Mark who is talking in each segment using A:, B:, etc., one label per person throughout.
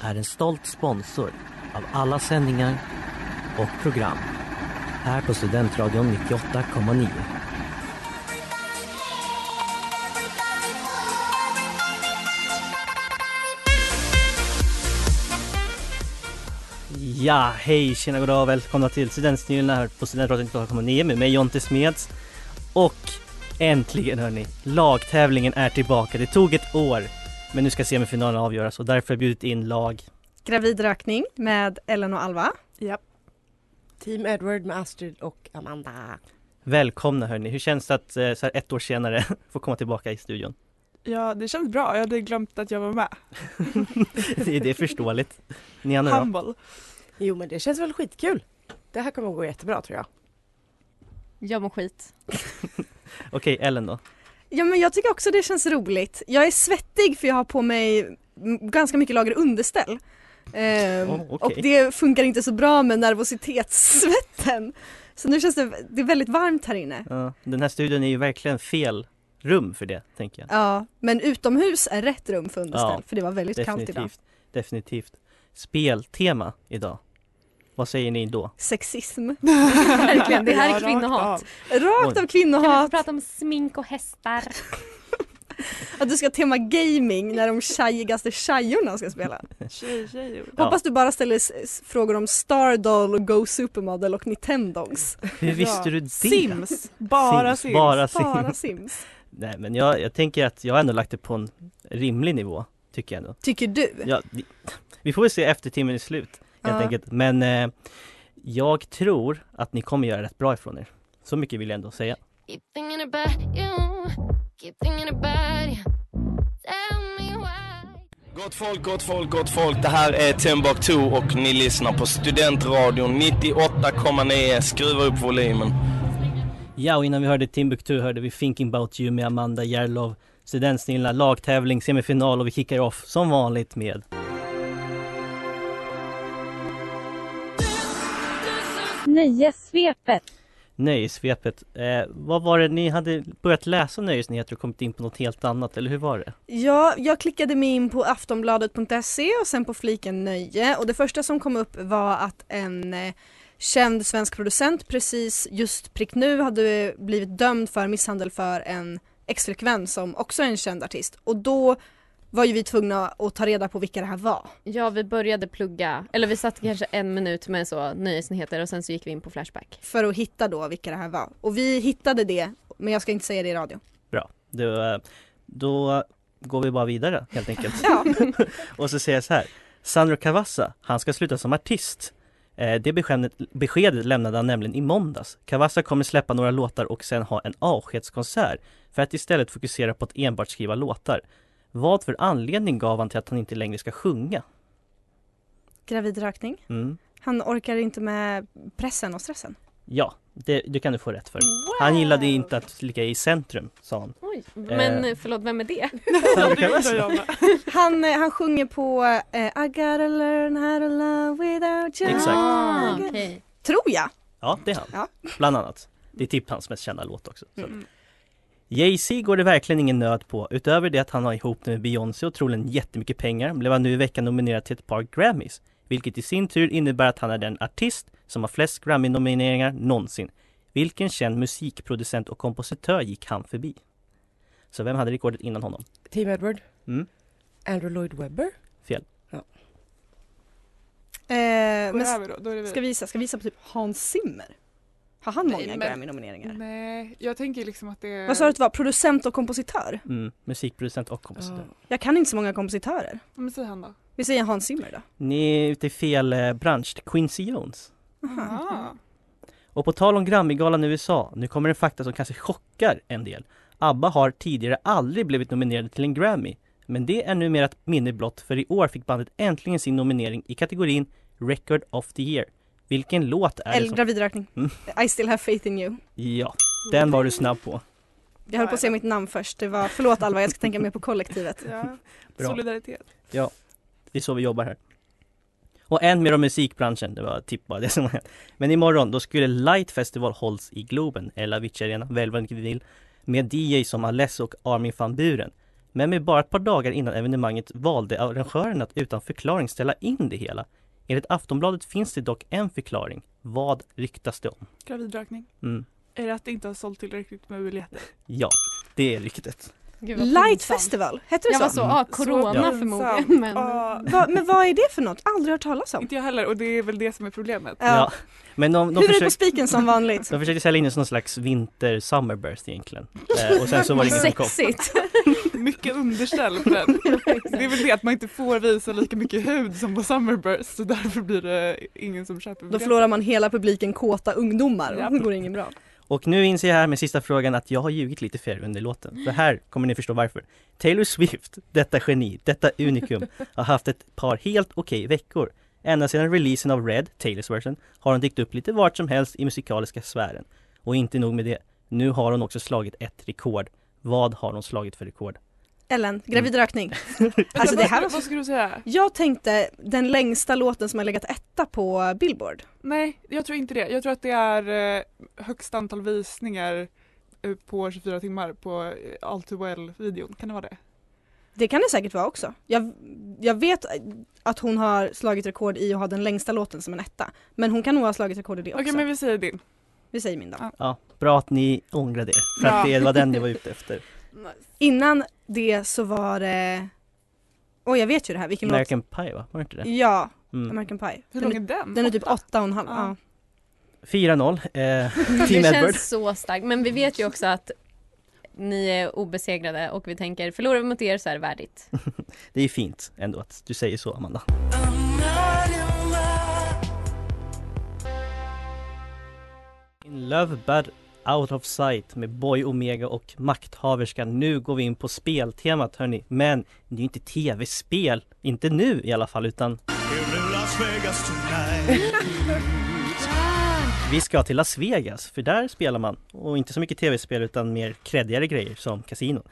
A: är en stolt sponsor av alla sändningar och program här på Studentradion 98,9. Ja, hej, tjena, goddag, välkomna till Studentstyrelsen här på Studentradion 98,9 med mig Jonte Smeds och Äntligen hörni! Lagtävlingen är tillbaka. Det tog ett år, men nu ska semifinalen avgöras och därför har jag bjudit in lag.
B: Gravid rökning med Ellen och Alva.
C: Team Edward med Astrid och Amanda.
A: Välkomna hörni! Hur känns det att eh, så här ett år senare få komma tillbaka i studion?
D: Ja, det känns bra. Jag hade glömt att jag var med.
A: Det är, det är förståeligt. Ni andra då?
D: Handboll.
C: Jo men det känns väl skitkul. Det här kommer att gå jättebra tror jag.
E: Jag mår skit.
A: Okej, Ellen då?
B: Ja men jag tycker också det känns roligt. Jag är svettig för jag har på mig m- ganska mycket lager underställ. Ehm,
A: Oh, okej.
B: Och det funkar inte så bra med nervositetssvetten. Så nu känns det, det är väldigt varmt här inne.
A: Ja, den här studion är ju verkligen fel rum för det, tänker jag.
B: Ja, men utomhus är rätt rum för underställ
A: Ja,
B: för det var väldigt kallt idag.
A: Definitivt. Definitivt. Speltema idag. Vad säger ni då?
B: Sexism.
E: Verkligen, det här
B: Ja,
E: är
B: rakt
E: kvinnohat.
B: Rakt
A: Oj.
B: av
E: Kan vi få
B: kvinnohat,
E: prata om smink och hästar?
B: att du ska tema gaming när de tjejigaste tjejorna ska spela.
D: Tjej, tjej.
A: Ja.
B: Hoppas du bara ställer s- s- frågor om Stardoll och Go Supermodel och Nintendogs.
A: Hur visste du det?
D: Sims. Bara Sims.
A: Bara Sims.
B: Bara Sims.
A: Nej men jag, jag tänker att jag har ändå lagt det på en rimlig nivå, tycker jag ändå.
B: Tycker du?
A: Ja, vi, vi får väl se efter timmen är slut helt
B: Ja.
A: enkelt. Men eh, jag tror att ni kommer göra rätt bra ifrån er. Så mycket vill jag ändå säga.
F: Keep thinking about you. Keep thinking about you. Tell me why.
G: Gott folk, gott folk, gott folk. Det här är Timbuktu och ni lyssnar på Studentradion 98,9. Skruva upp volymen.
A: Ja, och innan vi hörde Timbuktu hörde vi Thinking About You med Amanda Järlov. Studentsnillena, lagtävling, semifinal och vi kickar off som vanligt med
H: Nöjessvepet.
A: Nöjessvepet. Eh, vad var det, ni hade börjat läsa nöjesnyheter och kommit in på något helt annat, eller hur var det?
B: Ja, jag klickade mig in på aftonbladet.se och sen på fliken nöje och det första som kom upp var att en eh, känd svensk producent precis just prick nu hade blivit dömd för misshandel för en exflickvän som också är en känd artist och då var ju vi tvungna att ta reda på vilka det här var.
E: Ja, vi började plugga, eller vi satt kanske en minut med så nyhetsnyheter och sen så gick vi in på Flashback.
B: för att hitta då vilka det här var. Och vi hittade det, men jag ska inte säga det i radio.
A: Då, eh, då går vi bara vidare helt enkelt.
B: Ja.
A: Och så säger jag så här Sandro Cavazza, han ska sluta som artist Eh, det beskedet, beskedet lämnade han nämligen i måndags. Cavazza kommer släppa några låtar och sen ha en avskedskonsert för att istället fokusera på att enbart skriva låtar. Vad för anledning gav han till att han inte längre ska sjunga?
B: Gravidrökning.
A: Mm.
B: Han orkar inte med pressen och stressen.
A: Ja, det, det kan du få rätt för. Han gillade inte att ligga i centrum, sa han.
E: Oj, men
A: Eh.
E: förlåt, vem är det?
A: Sandro
D: Det undrar
A: Cavazza.
D: jag med.
B: Han, eh, han sjunger på eh, I gotta learn how to love without you.
A: Exakt.
E: Ah, okej.
B: Tror jag.
A: Ja, det är han.
B: Ja.
A: Bland annat. Det är typ hans mest kända låt också.
D: Mm.
A: Så.
B: Eh,
A: Jay-Z går det verkligen ingen nöd på. Utöver det att han har ihop det med Beyoncé och troligen jättemycket pengar blev han nu i veckan nominerad till ett par Grammys. Vilket i sin tur innebär att han är den artist som har flest Grammy-nomineringar någonsin. Vilken känd musikproducent och kompositör gick han förbi? Så vem hade rekordet innan honom?
C: Team Edward.
A: Mm.
C: Andrew Lloyd Webber.
B: Eh,
D: Går
B: men
D: det
B: s-
D: över då? Då är det vi.
B: ska vi gissa, ska vi gissa på typ Hans Zimmer? Har han många
H: Men- Mm.
B: Grammy-nomineringar?
H: Nej, jag tänker liksom att det...
B: Vad sa du att det var? Producent och kompositör?
A: Mm, musikproducent och kompositör.
B: Jag kan inte så många kompositörer.
H: Ja, Men säg han då.
B: Vi säger Hans Zimmer då.
A: Ni är ute i fel eh, bransch, Quincy Jones.
H: Aha.
A: Och på tal om Grammygalan i USA, nu kommer en fakta som kanske chockar en del. ABBA har tidigare aldrig blivit nominerade till en Grammy. Men det är numera ett minne blott för i år fick bandet äntligen sin nominering i kategorin Record of the Year. Vilken låt är det
B: Eller
A: som...
B: gravidräkning.
A: Mm.
B: I still have faith in you.
A: Ja, den var du snabb på.
B: Jag höll på att säga mitt namn först. Det var, förlåt Alva, jag ska tänka mer på kollektivet.
H: Ja.
A: Bra.
H: Solidaritet.
A: Det är så vi jobbar här. Och en mer om musikbranschen, det var typ bara det som hände. Men imorgon, då skulle Light Festival hålls i Globen, eller Avicii Arena, välvänligt vill, med DJ som Alessio och Armin van Buren. Men med bara ett par dagar innan evenemanget valde arrangören att utan förklaring ställa in det hela. Enligt Aftonbladet finns det dock en förklaring. Vad ryktas det om?
H: Gravidrökning.
A: Mm.
H: Är det att det inte har sålt tillräckligt med biljetter?
A: Ja, det är ryktet.
E: Gud, vad
B: Light
E: pinsamt.
B: Festival, hette det
E: Jag var
B: så?
E: så,
A: Mm.
E: ja, corona
A: Ja.
E: förmodligen. Men...
H: Ja,
B: Va, men vad är det för något? Aldrig hört talas om.
H: inte jag heller och det är väl det som är problemet.
B: Ja.
A: Ja. Men de, de,
B: Huvudet på
A: försöker,
B: spiken som vanligt.
A: de försöker sälja in en sån slags vinter-summerburst egentligen. Eh, och sen så var det ingen som kom.
E: Sexigt.
H: Mycket underställ på den. Det är väl det att man inte får visa lika mycket hud som på Summerburst så därför blir det ingen som köper
B: Då
H: biljetter.
B: förlorar man hela publiken kåta ungdomar.
H: Ja.
B: Det går ingen bra.
A: Och nu inser jag här med sista frågan att jag har ljugit lite för er under låten. För här kommer ni förstå varför. Taylor Swift, detta geni, detta unikum, har haft ett par helt okej veckor. Ända sedan releasen av Red, Taylors version, har hon dykt upp lite vart som helst i musikaliska sfären. Och inte nog med det, nu har hon också slagit ett rekord. Vad har hon slagit för rekord?
B: Ellen,
A: Mm.
B: gravidrökning. Alltså det här var...
H: Vad skulle du säga?
B: Jag tänkte den längsta låten som har legat etta på Billboard.
H: Nej, jag tror inte det. Jag tror att det är eh, högst antal visningar eh, på 24 timmar på eh, All Too Well-videon. Kan det vara det?
B: Det kan det säkert vara också. Jag, jag vet att hon har slagit rekord i att ha den längsta låten som en etta. Men hon kan nog ha slagit rekord i det också.
H: Okej, men vi säger din.
B: Vi säger min då.
A: Ja, bra att ni ångrade er, för att
H: Bra.
A: det var den jag var ute efter.
B: Innan det så var det... Åh jag vet ju det här, vilken
A: American Pie va? Var det inte
B: låt?
A: det?
B: Ja,
A: Mm.
B: American Pie. Den
H: Hur lång
B: är,
H: är den?
B: den är typ åtta och en halv.
H: Ja.
B: Ja.
A: 4-0, eh, Team
E: Det
A: Edward.
E: känns så starkt. Men vi vet ju också att ni är obesegrade och vi tänker förlorar vi mot er så är det värdigt.
A: Det är fint ändå att du säger så Amanda. In love but out of sight med Boy Omega och Makthaverskan. Nu går vi in på speltemat hörni. Men det är ju inte tv-spel, inte nu i alla fall utan vi ska till Las Vegas för där spelar man och inte så mycket tv-spel utan mer kreddigare grejer som kasinon.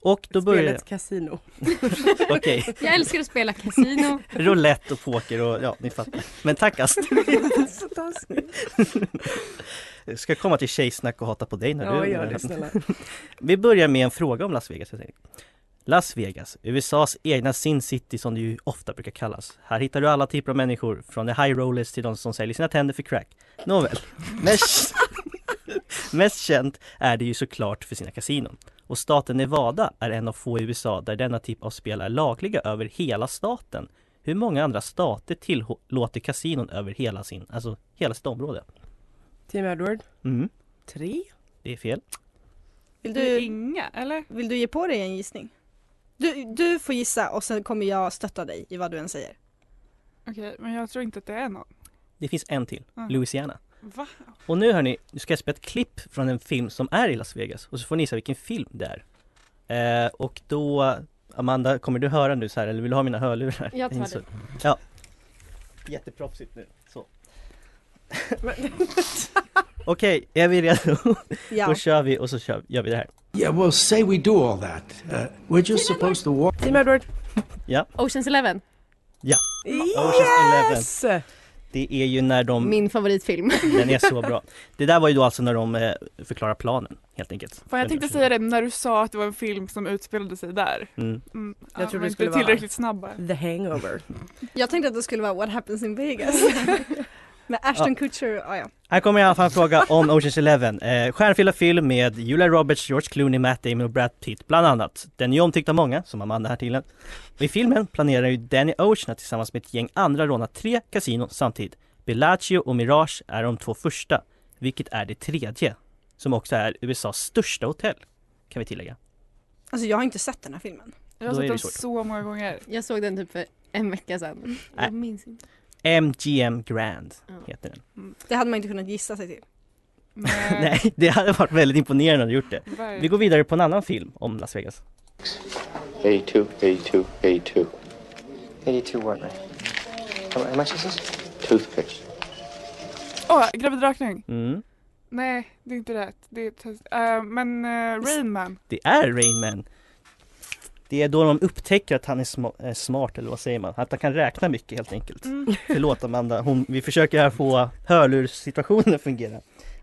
A: Och då börjar...
C: Spelets kasino.
A: Okej.
E: Jag älskar att spela kasino.
A: roulette och poker och ja, ni fattar. Men tack Astrid. Jag ska komma till tjejsnack och hata på dig när
C: Ja,
A: du
C: gör det snälla.
A: Vi börjar med en fråga om Las Vegas. helt enkelt. Las Vegas, USAs egna Sin City som det ju ofta brukar kallas. Här hittar du alla typer av människor, från de high rollers till de som säljer sina tänder för crack. Nåväl, mest, mest känt är det ju såklart för sina kasinon. Och staten Nevada är en av få i USA där denna typ av spel är lagliga över hela staten. Hur många andra stater tillåter kasinon över hela sin, alltså hela sitt område?
C: Team Edward.
A: Mm,
C: Tre.
A: det är fel.
B: Vill,
H: Det är
B: du,
H: Inga, eller?
B: vill du ge på dig en gissning? Du, du får gissa och sen kommer jag stötta dig i vad du än säger.
H: Okej, men jag tror inte att det är någon.
A: Det finns en till,
H: Mm.
A: Louisiana.
H: Va?
A: Och nu hörni, nu ska jag spela ett klipp från en film som är i Las Vegas och så får ni gissa vilken film det är. Eh, och då, Amanda, kommer du höra nu så här eller vill du ha mina hörlurar?
E: Jag tar
A: In så-
E: det.
A: Ja. Jätteproffsigt nu. Så. Okej, är vi redo? Då
B: Ja.
A: kör vi och så kör, gör vi det här.
I: Yeah, well, say we do all that. Uh, we're just supposed to walk.
C: Team Edward.
E: Oceans Eleven,
A: Ocean's Eleven.
C: Yes!
A: Det är ju när de,
E: min favoritfilm.
A: den är så bra. Det där var ju då alltså när de eh, förklarar planen helt enkelt.
H: Fan, jag tänkte säga det när du sa att det var en film som utspelade sig där.
A: Mm.
H: Mm.
C: Jag trodde
H: men
C: det skulle
H: inte tillräckligt snabba.
C: The hangover.
B: Jag tänkte att det skulle vara What happens in Vegas. Med Ashton Kutcher, ah, ja.
A: Här kommer i alla fall en fråga om Oceans Eleven. Eh, stjärnfylld film med Julia Roberts, George Clooney, Matt Damon och Brad Pitt bland annat. Den är ju omtyckt av många, som Amanda här till. Och I filmen planerar ju Danny Ocean att tillsammans med ett gäng andra råna tre kasinon samtidigt. Bellagio och Mirage är de två första. vilket är det tredje, som också är USAs största hotell, kan vi tillägga.
B: Alltså jag har inte sett den här filmen.
H: Jag har
A: Då är det
H: sett den
A: svårt.
H: så många gånger.
E: Jag såg den typ för en vecka sedan.
A: Nej.
E: Jag minns inte.
A: MGM Grand heter den.
B: Det hade man inte kunnat gissa sig till.
H: Men,
A: Nej, det hade varit väldigt imponerande om du gjort det. Vi
H: verkligen.
A: går vidare på en annan film om Las Vegas.
J: A2, A2, A2. 82 what, man? How, how much is this? Toothpicks.
H: Åh, gravidrökning!
A: Mm.
H: Nej, det är inte rätt. Det är test. Eh, men uh, Rain Man.
A: Det är Rain Man. Det är då de upptäcker att han är sma- eh, smart, eller vad säger man? Att han kan räkna mycket helt enkelt.
H: Mm.
A: Förlåt Amanda, hon, vi försöker här få hörlurssituationen att fungera.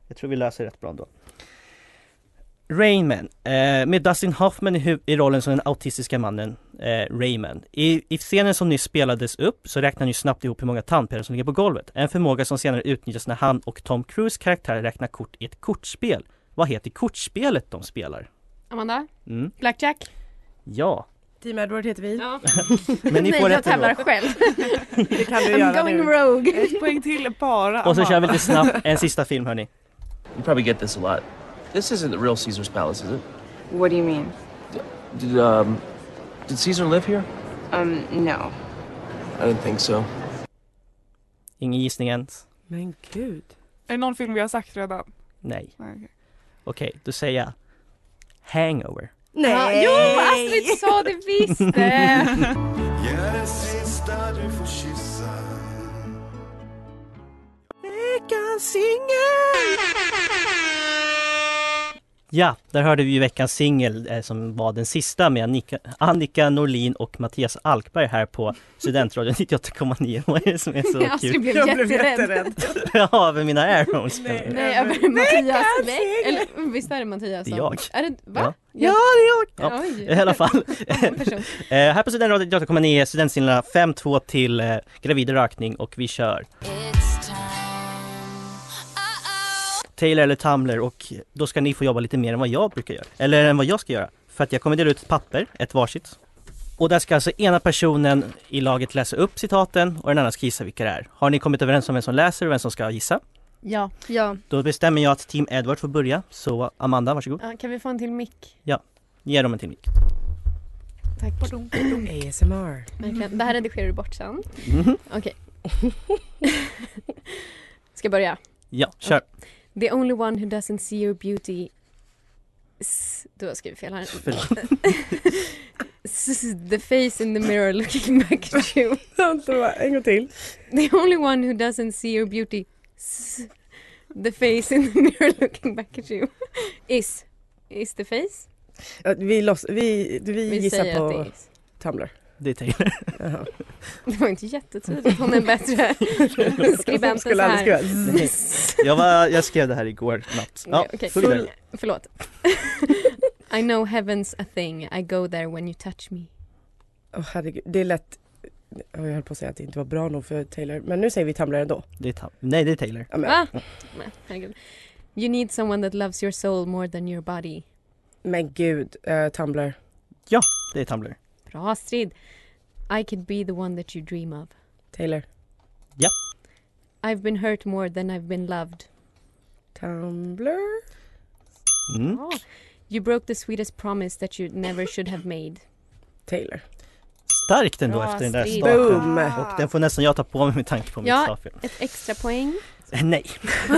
A: Jag tror vi löser det rätt bra ändå. Rayman, eh, med Dustin Hoffman i, hu- i rollen som den autistiska mannen eh, Rayman. I, I scenen som nyss spelades upp så räknar han ju snabbt ihop hur många tandpelare som ligger på golvet. En förmåga som senare utnyttjas när han och Tom Cruise karaktär räknar kort i ett kortspel. Vad heter kortspelet de spelar?
E: Amanda?
A: Mm.
E: Blackjack?
A: Ja,
C: Team Edward heter vi.
E: Ja.
A: men ni
E: Nej,
A: får
E: jag
A: rätt
E: tävlar
A: ändå.
E: själv.
C: Det kan du
B: I'm
C: göra
B: going
C: nu.
B: rogue.
H: Ett poäng till bara.
A: Och så
H: Amanda.
A: kör vi lite snabbt en sista film hörni.
J: You probably get this a lot. This isn't the real Caesar's Palace, is it?
K: What do you mean?
J: Did, um, did Caesar live here?
K: Um, no.
J: I didn't think so.
A: Ingen gissning ens?
C: Men gud.
H: Är det någon film vi har sagt redan?
A: Nej.
H: Nej, okej.
A: Okej, då säger jag Hangover.
E: Ja,
C: Nej!
E: Jo, Astrid sa det visst! Eh,
C: Veckans singel!
A: Ja, där hörde vi ju veckans singel eh, som var den sista med Annika, Annika Norlin och Mattias Alkberg här på Studentradion 98,9. Vad är det som är så kul?
E: Astrid blev
C: Jag blev
E: jätterädd.
C: jätterädd.
A: Ja, över mina airphones.
C: Nej.
E: Nej, över Mattias. Nej, eller mm, visst är det Mattias
A: Det är
E: som-
A: jag.
E: Är det, va?
C: Ja, det är jag!
A: Ja.
E: Oj.
A: I alla fall.
E: Annan person.
A: Eh, här på Studentradion 98,9, studentsinglarna 5-2 till eh, gravid rökning och vi kör
F: It's time. Uh-oh.
A: Taylor eller Tumblr och då ska ni få jobba lite mer än vad jag brukar göra. Eller än vad jag ska göra. För att jag kommer dela ut ett papper, ett varsitt. Och där ska alltså ena personen i laget läsa upp citaten och den andra ska gissa vilka det är. Har ni kommit överens om vem som läser och vem som ska gissa?
E: Ja.
B: Ja.
A: Då bestämmer jag att Team Edward får börja. Så Amanda, varsågod.
E: Ja, Kan vi få en till mick?
A: Ge dem en till mick.
E: Tack.
C: ASMR.
E: Verkligen. Det här redigerar du bort sen.
A: Mhm.
E: Okej. Ska jag börja?
A: Ja, kör.
E: The only one who doesn't see your beauty is... Du har skrivit fel här.
A: Förlåt.
E: S- The face in the mirror looking back at you.
C: Vänta, en gång till.
E: The only one who doesn't see your beauty s- The face in the mirror looking back at you is... Is the face?
C: Ja, Vi, loss, vi, vi,
E: Vi
C: gissar
E: säger att
C: på
E: det is.
C: Tumblr.
A: Det är Taylor.
C: Jaha.
E: Det var inte jättetydligt. Hon är en bättre skribent än så
C: Skulle aldrig
E: här.
C: skriva zzz.
A: Nej. Jag, var, jag skrev det här igår natt. Ja,
E: Okej, okej.
A: gå vidare.
E: Förlåt. I know heaven's a thing, I go there when you touch me.
C: Åh herregud, det är lätt. Jag höll på att säga att det inte var bra nog för Taylor, men nu säger vi Tumblr ändå.
A: Det är Tam- Nej, det är Taylor.
C: Ja, men,
E: Va? Nej, herregud. You need someone that loves your soul more than your body.
C: men gud, eh, Tumblr.
A: Det är Tumblr.
E: Bra Astrid. I could be the one that you dream of.
C: Taylor.
E: I've been hurt more than I've been loved.
C: Tumblr.
A: Mm.
E: Bra. Ah. You broke the sweetest promise that you never should have made.
C: Taylor.
A: Starkt ändå
H: Bra,
A: efter den där
E: Astrid.
A: starten.
C: Boom.
H: Ah.
A: Den får nästan jag ta på mig med tanke på mitt
E: Ja.
A: stavfel.
E: Ett extra poäng.
A: Nej.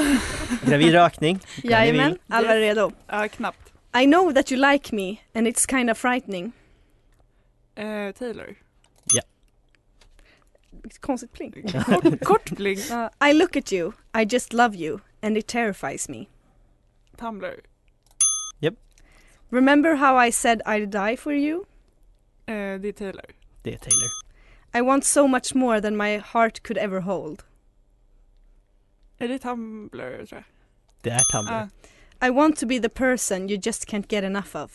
A: Gravid rökning.
B: Jajamän. Alla är redo.
H: Ja, knappt.
B: I know that you like me and it's kind of frightening.
H: Eh, Taylor.
B: Konstigt pling.
H: Kort, kort bling.
B: Uh, I look at you, I just love you and it terrifies me.
H: Tumblr.
B: Remember how I said I'd die for you?
H: Eh, det är Taylor.
A: Det är Taylor.
B: I want so much more than my heart could ever hold.
H: Är det Tumblr tror jag?
A: Det är Tumblr.
H: Ah,
B: I want to be the person you just can't get enough of.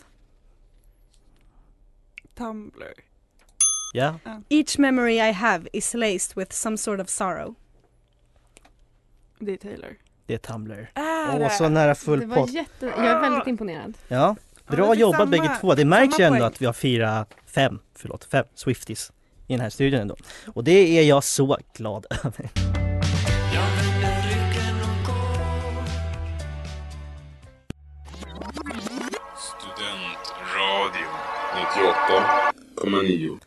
H: Tumblr.
A: Ja,
B: Each memory I have is laced with some sort of sorrow.
H: Det är Taylor.
A: det är Tumblr.
H: Är
A: Åh, så nära full
E: Det var
A: pott.
E: jätte... Jag är väldigt imponerad.
A: Ja,
H: Ja,
A: bra
H: det är
A: jobbat
H: samma-
A: bägge två. Det märks ju
H: samma
A: ändå
H: poäng.
A: att vi har fyra, fem, förlåt, fem Swifties i den här studion ändå. Och det är jag så glad över.
L: 8,9.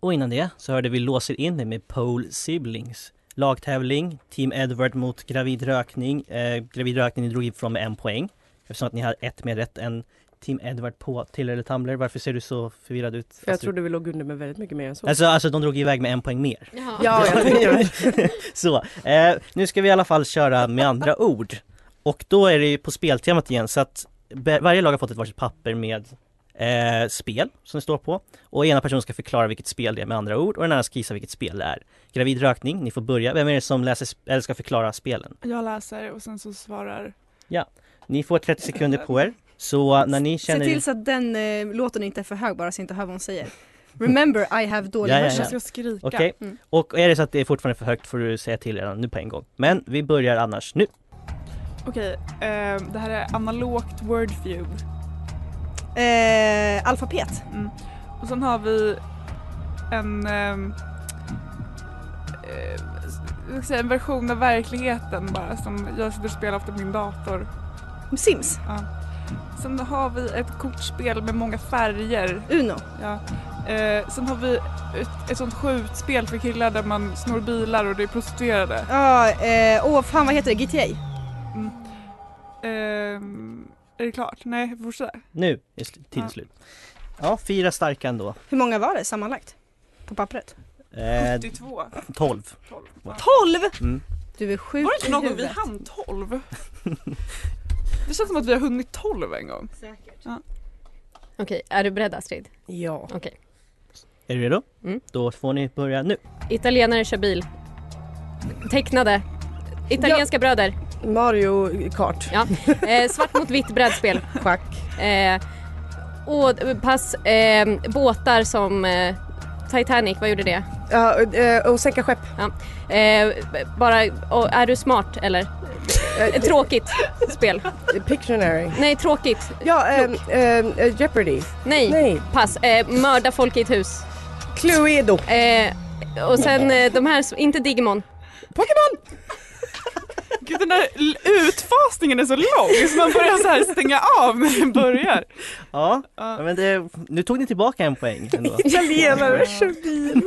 A: Och innan det så hörde vi Låser in dig med Pole Siblings. Lagtävling, Team Edward mot gravid rökning. Eh, gravid rökning ni drog ifrån med en poäng. Eftersom att ni hade ett mer rätt än Team Edward på Tiller eller Tumblr. Varför ser du så förvirrad ut?
C: För jag
A: Fast du-
C: trodde vi låg under med väldigt mycket mer än så.
A: Alltså, alltså de drog iväg med en poäng mer.
C: Jaha. Ja, jag tänkte
A: Så, eh, nu ska vi i alla fall köra med andra ord. Och då är det ju på speltemat igen så att be- varje lag har fått ett varsitt papper med eh, spel som det står på. Och ena personen ska förklara vilket spel det är med andra ord och den andra ska gissa vilket spel det är. Gravid rökning, ni får börja. Vem är det som läser, sp- eller ska förklara spelen?
H: Jag läser och sen så svarar
A: Ja, ni får 30 sekunder på er. Så när ni
B: Se
A: känner...
B: till så att den eh, låten inte är för hög bara så jag inte hör vad hon säger. Remember I have dålig hörsel.
A: Okej.
B: Mm.
A: Och är det så att det är fortfarande för högt får du säga till redan nu på en gång. Men vi börjar annars nu.
H: Okej, eh, det här är analogt wordview.
B: Eh, alfabet.
H: Mm. Och sen har vi en, ehm, eh, jag ska säga, en version av verkligheten bara som jag sitter och spelar efter min dator.
B: Sims?
H: Ja. Sen har vi ett kortspel med många färger.
B: Uno?
H: Ja. Eh, sen har vi ett, ett sånt skjutspel för killar där man snor bilar och det är prostituerade.
B: Ja, eh, åh fan vad heter det? GTA?
H: Mm. Ehm, är det klart? Nej, fortsätt.
A: Nu är sl- till slut. Ja, fyra starka ändå.
B: Hur många var det sammanlagt? På pappret?
A: Eh,
H: 72.
A: 12.
B: 12!
A: Mm.
B: Du är sjuk
H: Var det inte
B: i
H: någon gång vi
B: huvudet.
H: hann 12? Det känns som att vi har hunnit 12 en gång.
E: Säkert.
H: Ja.
E: Okej, är du beredd Astrid?
C: Ja.
E: Okej.
A: Är du redo?
E: Mm.
A: Då får ni börja nu.
E: Italienare kör bil. Tecknade. Italienska bröder.
C: Mario Kart.
E: Ja. Eh, svart mot vitt brädspel.
C: Schack.
E: Eh, och pass. Eh, båtar som eh, Titanic, vad gjorde det?
C: Ja, eh, och sänka skepp.
E: Ja. Eh, b- bara, och, är du smart eller?
H: Eh,
E: Ett tråkigt spel.
C: Pictionary.
E: Nej, tråkigt.
C: Ja, ehm, ehm, eh, Jeopardy.
E: Nej,
C: Nej.
E: pass. Eh, mörda folk i ett hus.
C: Cluedo.
E: Eh, och sen eh, de här, som- inte Digimon.
C: Pokémon!
H: Gud den där l- utfasningen är så lång så man börjar så här stänga av när den börjar.
A: Ja, ja, men det, nu tog ni tillbaka en poäng ändå.
C: Italienare kör bil.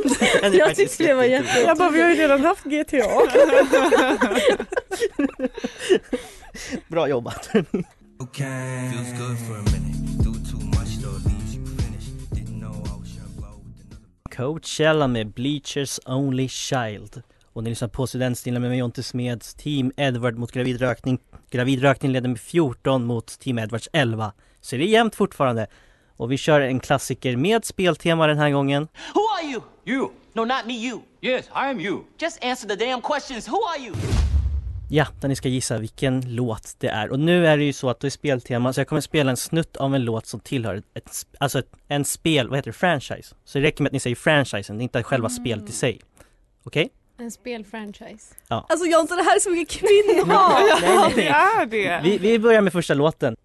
A: Jag tyckte det var jättebra.
C: Jag bara, vi har ju redan haft GTA.
A: Bra jobbat.
M: Feels good for a minute. Do too much though, leaves you finished. Didn't know I was young, blow with
A: Coachella med Bleachers Only Child. Och ni lyssnar på Studentstilen med mig Jonte Smeds Team Edward mot Gravid Rökning. Gravid Rökning leder med 14 mot Team Edwards 11. Så det är jämnt fortfarande. Och vi kör en klassiker med speltema den här gången.
N: Who are you? You. No, not me, you. Yes, I am you. Just answer the damn questions. Who are you?
A: Ja, där ni ska gissa vilken låt det är. Och nu är det ju så att det är speltema, så jag kommer spela en snutt av en låt som tillhör ett, sp- alltså ett, en spel, vad heter det, franchise. Så det räcker med att ni säger franchisen, det är inte
C: Mm.
A: själva spelet i sig. Okej?
E: En spelfranchise.
A: Ja.
B: Alltså Jonte det här är så mycket kvinnor!
H: det är det.
A: Vi, vi börjar med första låten.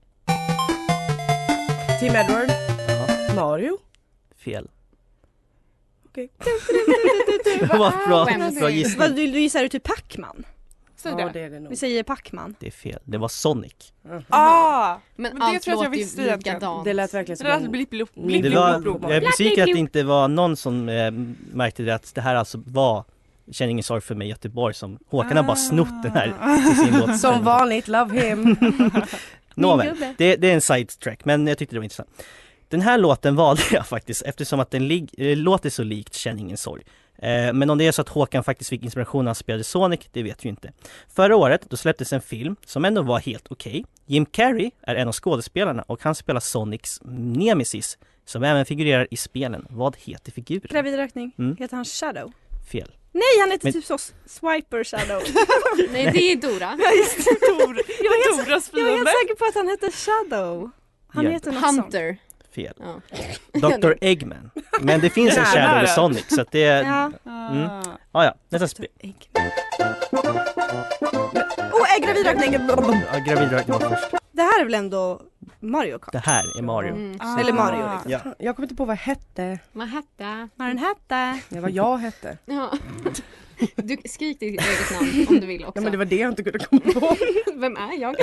C: Team Edward. Mario.
A: Fel.
C: Okej.
A: Vad bra- bra gissning.
B: Vad, Du, du gissar ju typ Pacman?
H: Säg
C: Ja, det är det nog.
B: Vi säger Pacman.
A: Det är fel. Det var Sonic.
H: Ah!
E: Men,
H: det
E: allt
H: tror jag att jag
E: låter ju
H: visste egentligen.
E: likadant.
C: Det alltså lät verkligen som
H: Det lät
C: en-
H: blipp, blipp, blipp,
A: Det
H: blipp,
A: var,
H: blipp, blipp.
A: jag är besviken att det inte var någon som eh, märkte det att det här alltså var Känner ingen sorg för mig Göteborg som Håkan har bara snott den här till sin låt.
C: Som vanligt, love him.
A: Nåväl,
C: gubbe.
A: det, det är en sidetrack men jag tyckte det var intressant. Den här låten valde jag faktiskt eftersom att den lig- eh, låter så likt Känn ingen sorg. Eh, men om det är så att Håkan faktiskt fick inspiration när han spelade Sonic, det vet vi inte. Förra året, då släpptes en film som ändå var helt okej. Jim Carrey är en av skådespelarna och han spelar Sonics Nemesis som även figurerar i spelen. Vad heter figuren?
B: Gravid rökning.
A: Mm.
B: Heter han Shadow?
A: Fel.
B: Nej han heter
A: Men-
B: typ så Swiper Shadow.
E: Nej, det är Dora.
B: Ja, just det.
H: Dora.
B: Jag var helt,
H: Doras
B: jag var helt
H: fiende.
B: säker på att han hette Shadow. Han
A: Ja.
B: heter något
E: Hunter.
A: Fel.
E: Ja.
A: Dr Eggman. Men det finns en
E: Nära.
A: Shadow i Sonic så att det...
B: Ja.
A: Mm. Ah, ja, nästa spel.
B: Oh, är gravid rökning!
A: Ja, gravidrökning var först.
B: Det här är väl ändå Mario Kart?
A: Det här är Mario.
B: Mm. Ah. Eller Mario, liksom.
A: Ja.
C: Jag kommer inte på vad jag hette.
E: Manhattan.
B: Manhattan.
C: Ja, vad jag hette.
E: Ja. Du skrik ditt eget namn om du vill också.
C: Ja men det var det jag inte kunde komma på.
E: Vem är jag?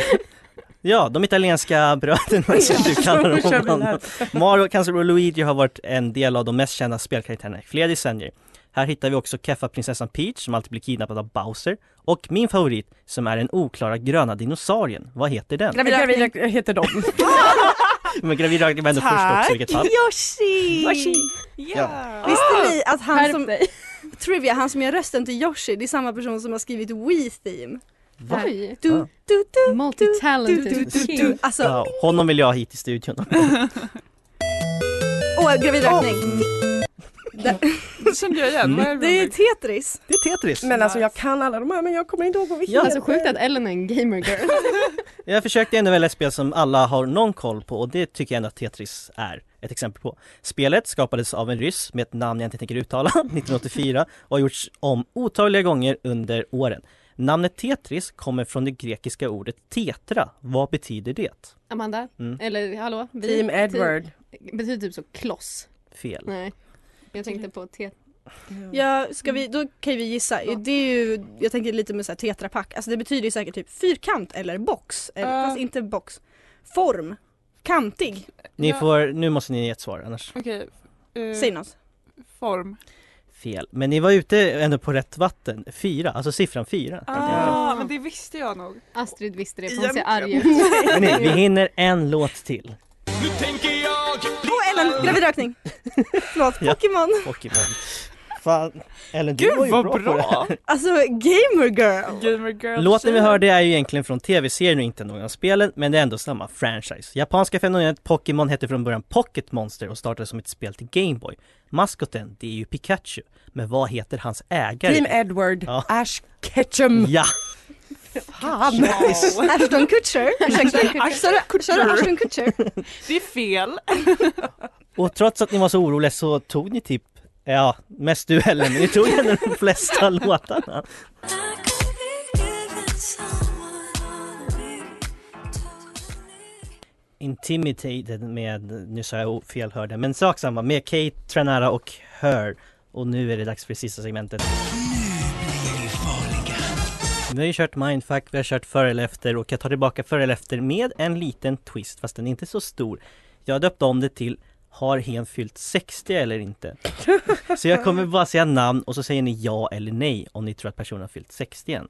A: Ja, de italienska bröderna som du kallar dem.
C: Då kör vi
A: bland
C: här.
A: annat. Mario, Kanzler och Luigi har varit en del av de mest kända spelkaraktärerna i flera decennier. Här hittar vi också Keffa prinsessan Peach som alltid blir kidnappad av Bowser och min favorit som är den oklara gröna dinosaurien. Vad heter den?
C: Jag heter de.
A: Men gravid rökning var ändå först också i vilket fall.
C: Mm.
B: Yoshi!
A: Ja.
B: Visste ni att han som... Trivia, han som gör rösten till Yoshi, det är samma person som har skrivit Wii Theme.
A: Va?
B: Du,
A: Ja.
B: du, du, du,
E: Multitalented
B: du, du, du, du.
E: king.
B: Alltså,
A: Ja, honom vill jag ha hit i studion.
B: åh, gravid rökning.
H: Det kände jag igen.
A: Mm.
B: Det är Tetris.
A: Det är Tetris.
C: Men alltså jag kan alla de här men jag kommer inte ihåg vad vi
E: Ja. Alltså sjukt att Ellen är en gamer girl.
A: Jag försökte ändå välja ett spel som alla har någon koll på och det tycker jag ändå att Tetris är ett exempel på. Spelet skapades av en ryss med ett namn jag inte tänker uttala, 1984 och har gjorts om otaliga gånger under åren. Namnet Tetris kommer från det grekiska ordet tetra. Vad betyder det?
E: Amanda,
A: Mm.
E: eller hallå? vi-
C: Team Edward.
E: Ty- Betyder typ så kloss.
A: Fel.
E: Nej. Jag tänkte på te...
B: Ja, ska vi, då kan vi gissa. Det är ju, jag tänker lite med så här tetrapack. Alltså det betyder ju säkert typ fyrkant eller box. Eller,
H: Ja.
B: Fast inte box. Form. Kantig.
A: Ni
H: Ja.
A: får, nu måste ni ge ett svar annars
H: Okej.
A: Mm.
H: eh,
B: Säg något.
H: Form.
A: fel. Men ni var ute ändå på rätt vatten, fyra, alltså siffran fyra.
H: Ah, men det visste jag nog.
E: Astrid visste det för hon ser
H: Egentligen.
E: arg ut.
A: Men ni, vi hinner en låt till.
G: Nu tänker jag
B: Åh Ellen, gravidrökning! Förlåt,
A: Ja.
B: Pokémon.
A: Pokémon. Fan, Ellen du
H: Gud,
A: var ju
H: vad
A: bra, på det
H: bra.
A: här.
B: Alltså gamer girl.
H: Gamer girl
A: Låten vi
H: tjejer.
A: hörde är ju egentligen från tv-serien och inte någon av spelen, men det är ändå samma franchise. Japanska fenomenet Pokémon hette från början Pocket Monster och startade som ett spel till Gameboy. Maskoten, det är ju Pikachu. Men vad heter hans ägare?
C: Team Edward.
A: Ja.
C: Ash Ketchum.
A: Ja!
C: Fan.
A: Nice.
B: Ashton Kutcher. Ursäkta. Sa du- Sa du Ashton Kutcher?
H: Det är fel.
A: Och trots att ni var så oroliga så tog ni typ, ja, mest duellen, men ni tog ändå de flesta låtarna. Intimidated med, nu sa jag fel hörde, men sak samma, med Kate, Tranara och Her. Och nu är det dags för det sista segmentet. Vi har ju kört Mindfuck, vi har kört Före eller Efter och jag tar tillbaka Före eller Efter med en liten twist fast den är inte så stor. Jag döpte om det till Har hen fyllt 60 eller inte? Så jag kommer bara säga namn och så säger ni ja eller nej om ni tror att personen har fyllt 60 än.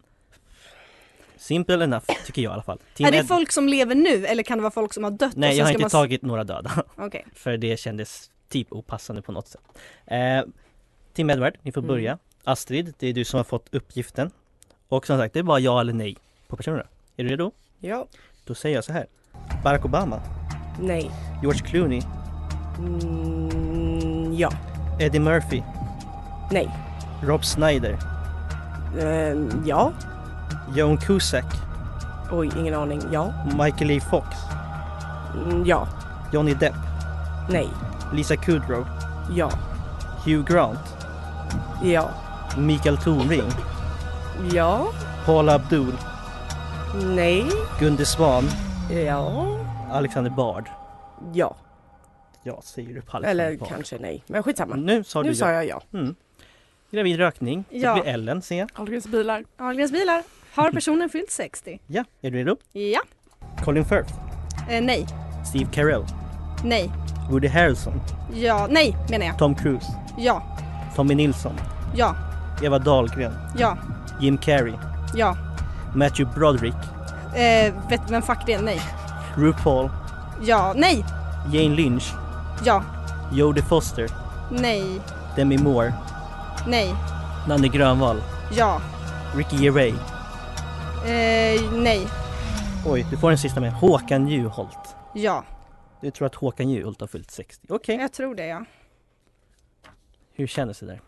A: Simple enough, tycker jag i alla fall. Team
B: Är det
A: Ed-
B: folk som lever nu eller kan det vara folk som har dött? och
A: Nej,
B: sen
A: jag har
B: ska
A: inte
B: man...
A: tagit några döda.
B: Okej.
A: För det kändes typ opassande på något sätt. Eh, Tim Edward, ni får
C: Mm.
A: börja. Astrid, det är du som har fått uppgiften. Och som sagt, det är bara ja eller nej på personerna. Är du redo?
C: Ja.
A: Då säger jag så här. Barack Obama,
C: Nej.
A: George Clooney,
C: Mm, ja.
A: Eddie Murphy,
C: Nej.
A: Rob Snyder,
C: Ehm, ja.
A: Joan Cusack,
C: Oj, ingen aning. Ja.
A: Michael E. Fox,
C: Mm, ja.
A: Johnny Depp,
C: Nej.
A: Lisa Kudrow,
C: Ja.
A: Hugh Grant,
C: Ja.
A: Mikael Tornving,
C: Ja.
A: Paula Abdul,
C: Nej.
A: Gunde Svan,
C: Ja.
A: Alexander Bard.
C: Ja.
A: Ja, säger du på Alexander
C: Eller
A: Bard.
C: kanske nej. Men skitsamma.
A: Nu sa du
C: Nu
A: ja.
C: sa
A: Mm.
C: jag ja.
A: Gravid rökning, så
B: Ja.
A: blir Ellen sen.
H: Ahlgrens bilar.
B: Ahlgrens bilar. Har personen fyllt 60?
A: Ja, är du redo?
B: Ja.
A: Colin Firth,
B: Eh, nej.
A: Steve Carell,
B: Nej.
A: Woody Harrelson,
B: Ja. Nej menar jag.
A: Tom Cruise,
B: Ja.
A: Tommy Nilsson,
B: Ja.
A: Eva Dahlgren,
B: Ja.
A: Jim Carrey,
B: Ja.
A: Matthew Broderick,
B: Eh, vet, men fuck det. Nej.
A: RuPaul,
B: Ja. Nej.
A: Jane Lynch,
B: Ja.
A: Jodie Foster,
B: Nej.
A: Demi Moore,
B: Nej.
A: Nanne Grönvall,
B: Ja.
A: Ricky Gervais.
B: Eh, nej.
A: Oj, du får den sista med. Håkan Juholt.
B: Ja.
A: Du tror att Håkan Juholt har fyllt 60. Okej,
B: Jag tror det ja.
A: hur kändes det där?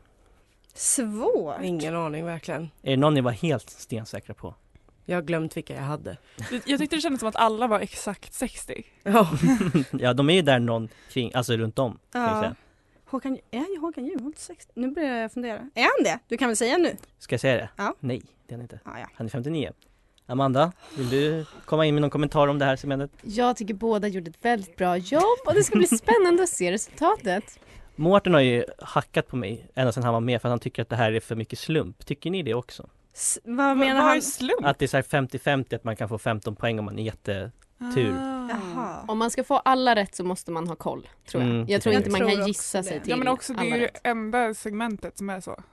B: Svårt.
C: Ingen aning verkligen.
A: Är det någon ni var helt stensäkra på?
C: Jag har glömt vilka jag hade.
H: Jag tyckte det kändes som att alla var exakt 60.
C: Ja.
A: ja, de är ju där någon kring, alltså runt om. Kan jag
B: Ja.
A: säga.
B: Håkan, är ju Håkan Juholt 60? Nu börjar jag fundera. Är han det? Du kan väl säga nu?
A: Ska jag säga det?
B: Ja.
A: Nej, det är han inte.
B: Ah, ja.
A: Han är 59. Amanda, vill du komma in med någon kommentar om det här segmentet?
E: Jag tycker båda gjorde ett väldigt bra jobb och det ska bli spännande att se resultatet.
A: Mårten har ju hackat på mig ända sedan han var med för att han tycker att det här är för mycket slump. Tycker ni det också?
B: S- vad menar han?
A: Att det är så här 50-50 att man kan få 15 poäng om man är jättetur.
H: Ah.
B: Jaha.
E: Om man ska få alla rätt så måste man ha koll, tror jag.
A: Mm,
E: jag
A: det
E: tror
A: tror
E: inte
A: jag.
E: man
B: Jag
E: kan
B: tror
E: gissa
B: också
E: sig
B: det.
E: till
H: Ja men också det
E: alla
H: är ju
E: rätt.
H: det enda segmentet som är så.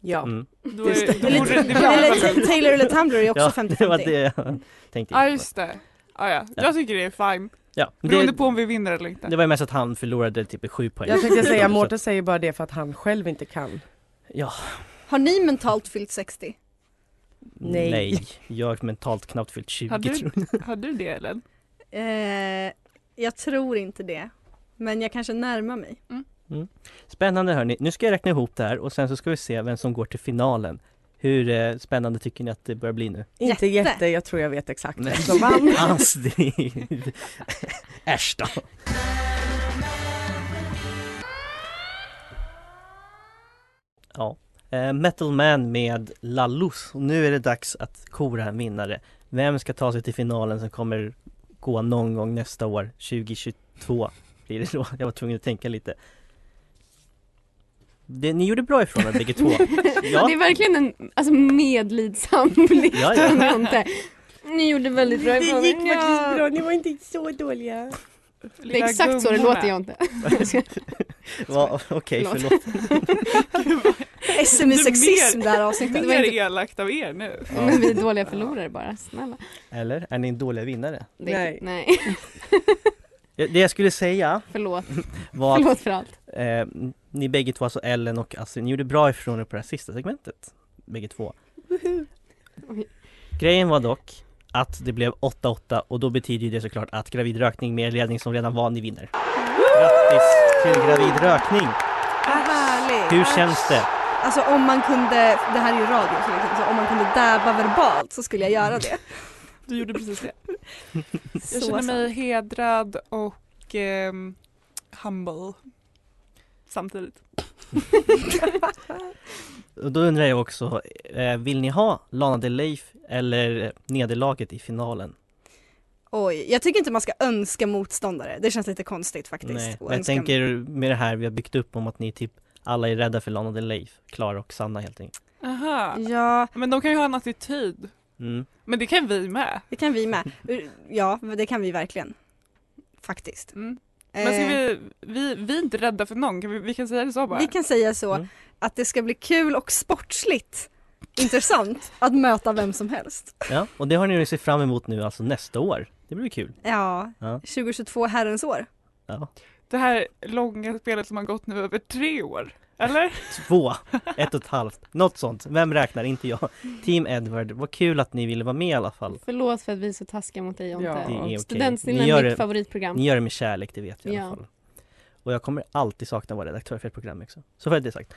C: Ja.
A: Mm.
H: Då är,
B: Just
H: då
B: det.
H: borde- det
B: Eller
H: borde väl-
B: Ta- Taylor eller Tumblr är också
A: Ja, det var
B: 50-50.
A: det jag tänkte.
H: Ja just det. Ja, ja.
A: Ja.
H: Jag tycker det är fine.
A: Ja, men
H: Beroende
A: det,
H: på om vi vinner eller inte.
A: det var ju mest att han förlorade typ 7 poäng.
C: Jag tänkte säga,
A: Så-
C: Mårten säger bara det för att han själv inte kan.
A: Ja,
B: Har ni mentalt fyllt 60?
A: nej.
C: Nej.
A: Jag har mentalt knappt fyllt 20
H: Har du-
A: tror jag.
H: Har du det Ellen?
B: Eh, jag tror inte det. Men jag kanske närmar mig.
A: Spännande hörni. Nu ska jag räkna ihop det här och sen så ska vi se vem som går till finalen. Hur eh, spännande tycker ni att det börjar bli nu?
C: Inte
B: Jätte.
C: jätte. jag tror jag vet exakt
A: Nej.
C: vem som vann.
A: Alltså, det är- Äsch då. Ja, eh, Metal Man med Lallus. Och nu är det dags att kora en vinnare. Vem ska ta sig till finalen som kommer gå någon gång nästa år, 2022 blir det då. Jag var tvungen att tänka lite. Det, ni gjorde bra ifrån er bägge två. Ja.
E: Det är verkligen en alltså, medlidsam blick
A: Ja, ja.
E: från Jonte. Ni gjorde väldigt bra ifrån er. Ja.
C: ni var inte så dåliga.
E: Det är exakt så det låter Jonte.
A: Va, Okej,
E: Förlåt.
A: förlåt.
B: SMI-sexism där avsnittet. Det var
H: Mer
B: inte...
H: elakt av er nu.
A: Ja.
E: Men vi är dåliga förlorare bara, snälla.
A: Eller? Är ni en dålig vinnare?
E: Det, nej.
C: Nej.
E: nej,
A: Det det jag skulle säga
E: förlåt.
A: var att
E: Förlåt för allt.
A: Eh, ni bägge två, alltså Ellen och Astrid, ni gjorde bra ifrån er på det här sista segmentet. Bägge två.
E: Oj.
A: Grejen var dock att det blev 8-8 och då betyder ju det såklart att gravidrökning med ledning som redan var, ni vinner. Grattis till gravidrökning!
B: Vad härligt.
A: Hur känns det?
B: Alltså om man kunde, det här är ju radio så, liksom, så om man kunde dabba verbalt så skulle jag göra det.
H: Du gjorde precis det.
B: Så
H: Jag känner mig
B: sant.
H: hedrad och ehm, humble samtidigt.
A: Och då undrar jag också, eh, vill ni ha Lana Del Rey eller nederlaget i finalen?
B: Oj, jag tycker inte man ska önska motståndare. Det känns lite konstigt faktiskt.
A: Nej,
B: att
A: men jag
B: önska-
A: tänker med det här vi har byggt upp om att ni typ alla är rädda för Lana Del Rey, Klara och Sanna helt enkelt.
H: Aha.
B: Ja,
H: Mm. Men de kan ju ha en attityd.
A: Mm.
H: Men det kan vi med.
B: det kan vi med. Ja, det kan vi verkligen. Faktiskt.
H: Mm. Men ska
B: Eh,
H: vi, vi, vi är inte rädda för någon, kan vi, vi kan säga det så bara.
B: Vi kan säga så
A: Mm.
B: att det ska bli kul och sportsligt intressant att möta vem som helst.
A: Ja, och det har ni ju sett fram emot nu alltså nästa år. Det blir kul.
B: Ja,
A: Ja.
B: 2022 herrens år.
A: Ja.
H: Det här långa spelet som har gått nu över tre år. Eller?
A: Två, ett och ett halvt, något sånt. Vem räknar? Inte jag. Team Edward, vad kul att ni ville vara med i alla fall.
E: Förlåt för att vi är så taskiga mot dig Jonte.
C: Ja.
A: Det är okej.
E: Studentsnillen
A: Ni
E: är
A: gör
E: mitt
A: det-
E: favoritprogram.
A: Ni gör det med kärlek, det vet jag i alla
E: Ja.
A: fall. Och jag kommer alltid sakna att vara redaktör för ett program också. Så var det sagt.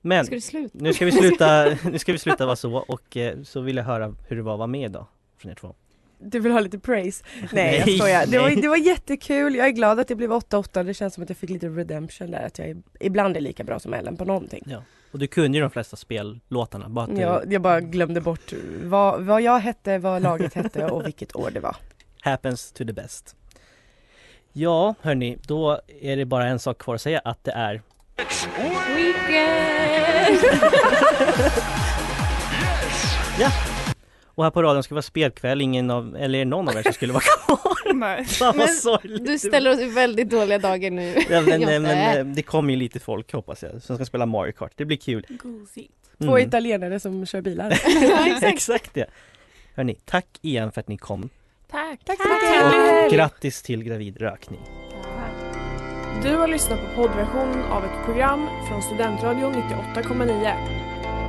A: Men
E: Ska du sluta?
A: nu ska vi sluta, nu ska vi sluta vara så och eh, så vill jag höra hur det var att vara med idag från er två.
C: Du vill ha lite praise? Nej
A: Nej,
C: jag skojar. Det var,
A: nej.
C: det var jättekul, jag är glad att det blev 8-8, det känns som att jag fick lite redemption där, att jag är, ibland är lika bra som Ellen på någonting.
A: Och du kunde ju de flesta spellåtarna, bara att du,
C: Jag, jag bara glömde bort vad, vad jag hette, vad laget hette och vilket år det var.
A: happens to the best. Ja, hörni, då är det bara en sak kvar att säga att det är
E: Weekend!
A: Och här på radion ska vara spelkväll, ingen av, eller någon av er som skulle vara kvar.
H: Nej.
A: Fan vad
E: Men
A: sorgligt.
E: Du ställer oss i väldigt dåliga dagar nu.
A: ja, men,
E: Jonte.
A: men, men, eh, det kommer ju lite folk hoppas jag, som ska spela Mario Kart. Det blir kul.
C: Två
A: Mm,
C: italienare som kör bilar.
E: Ja, exakt.
A: Exakt det. Hörni, tack igen för att ni kom.
H: Tack.
C: Tack så mycket!
A: Och grattis till gravidrökning.
D: Du har lyssnat på poddversionen av ett program från Studentradion 98,9.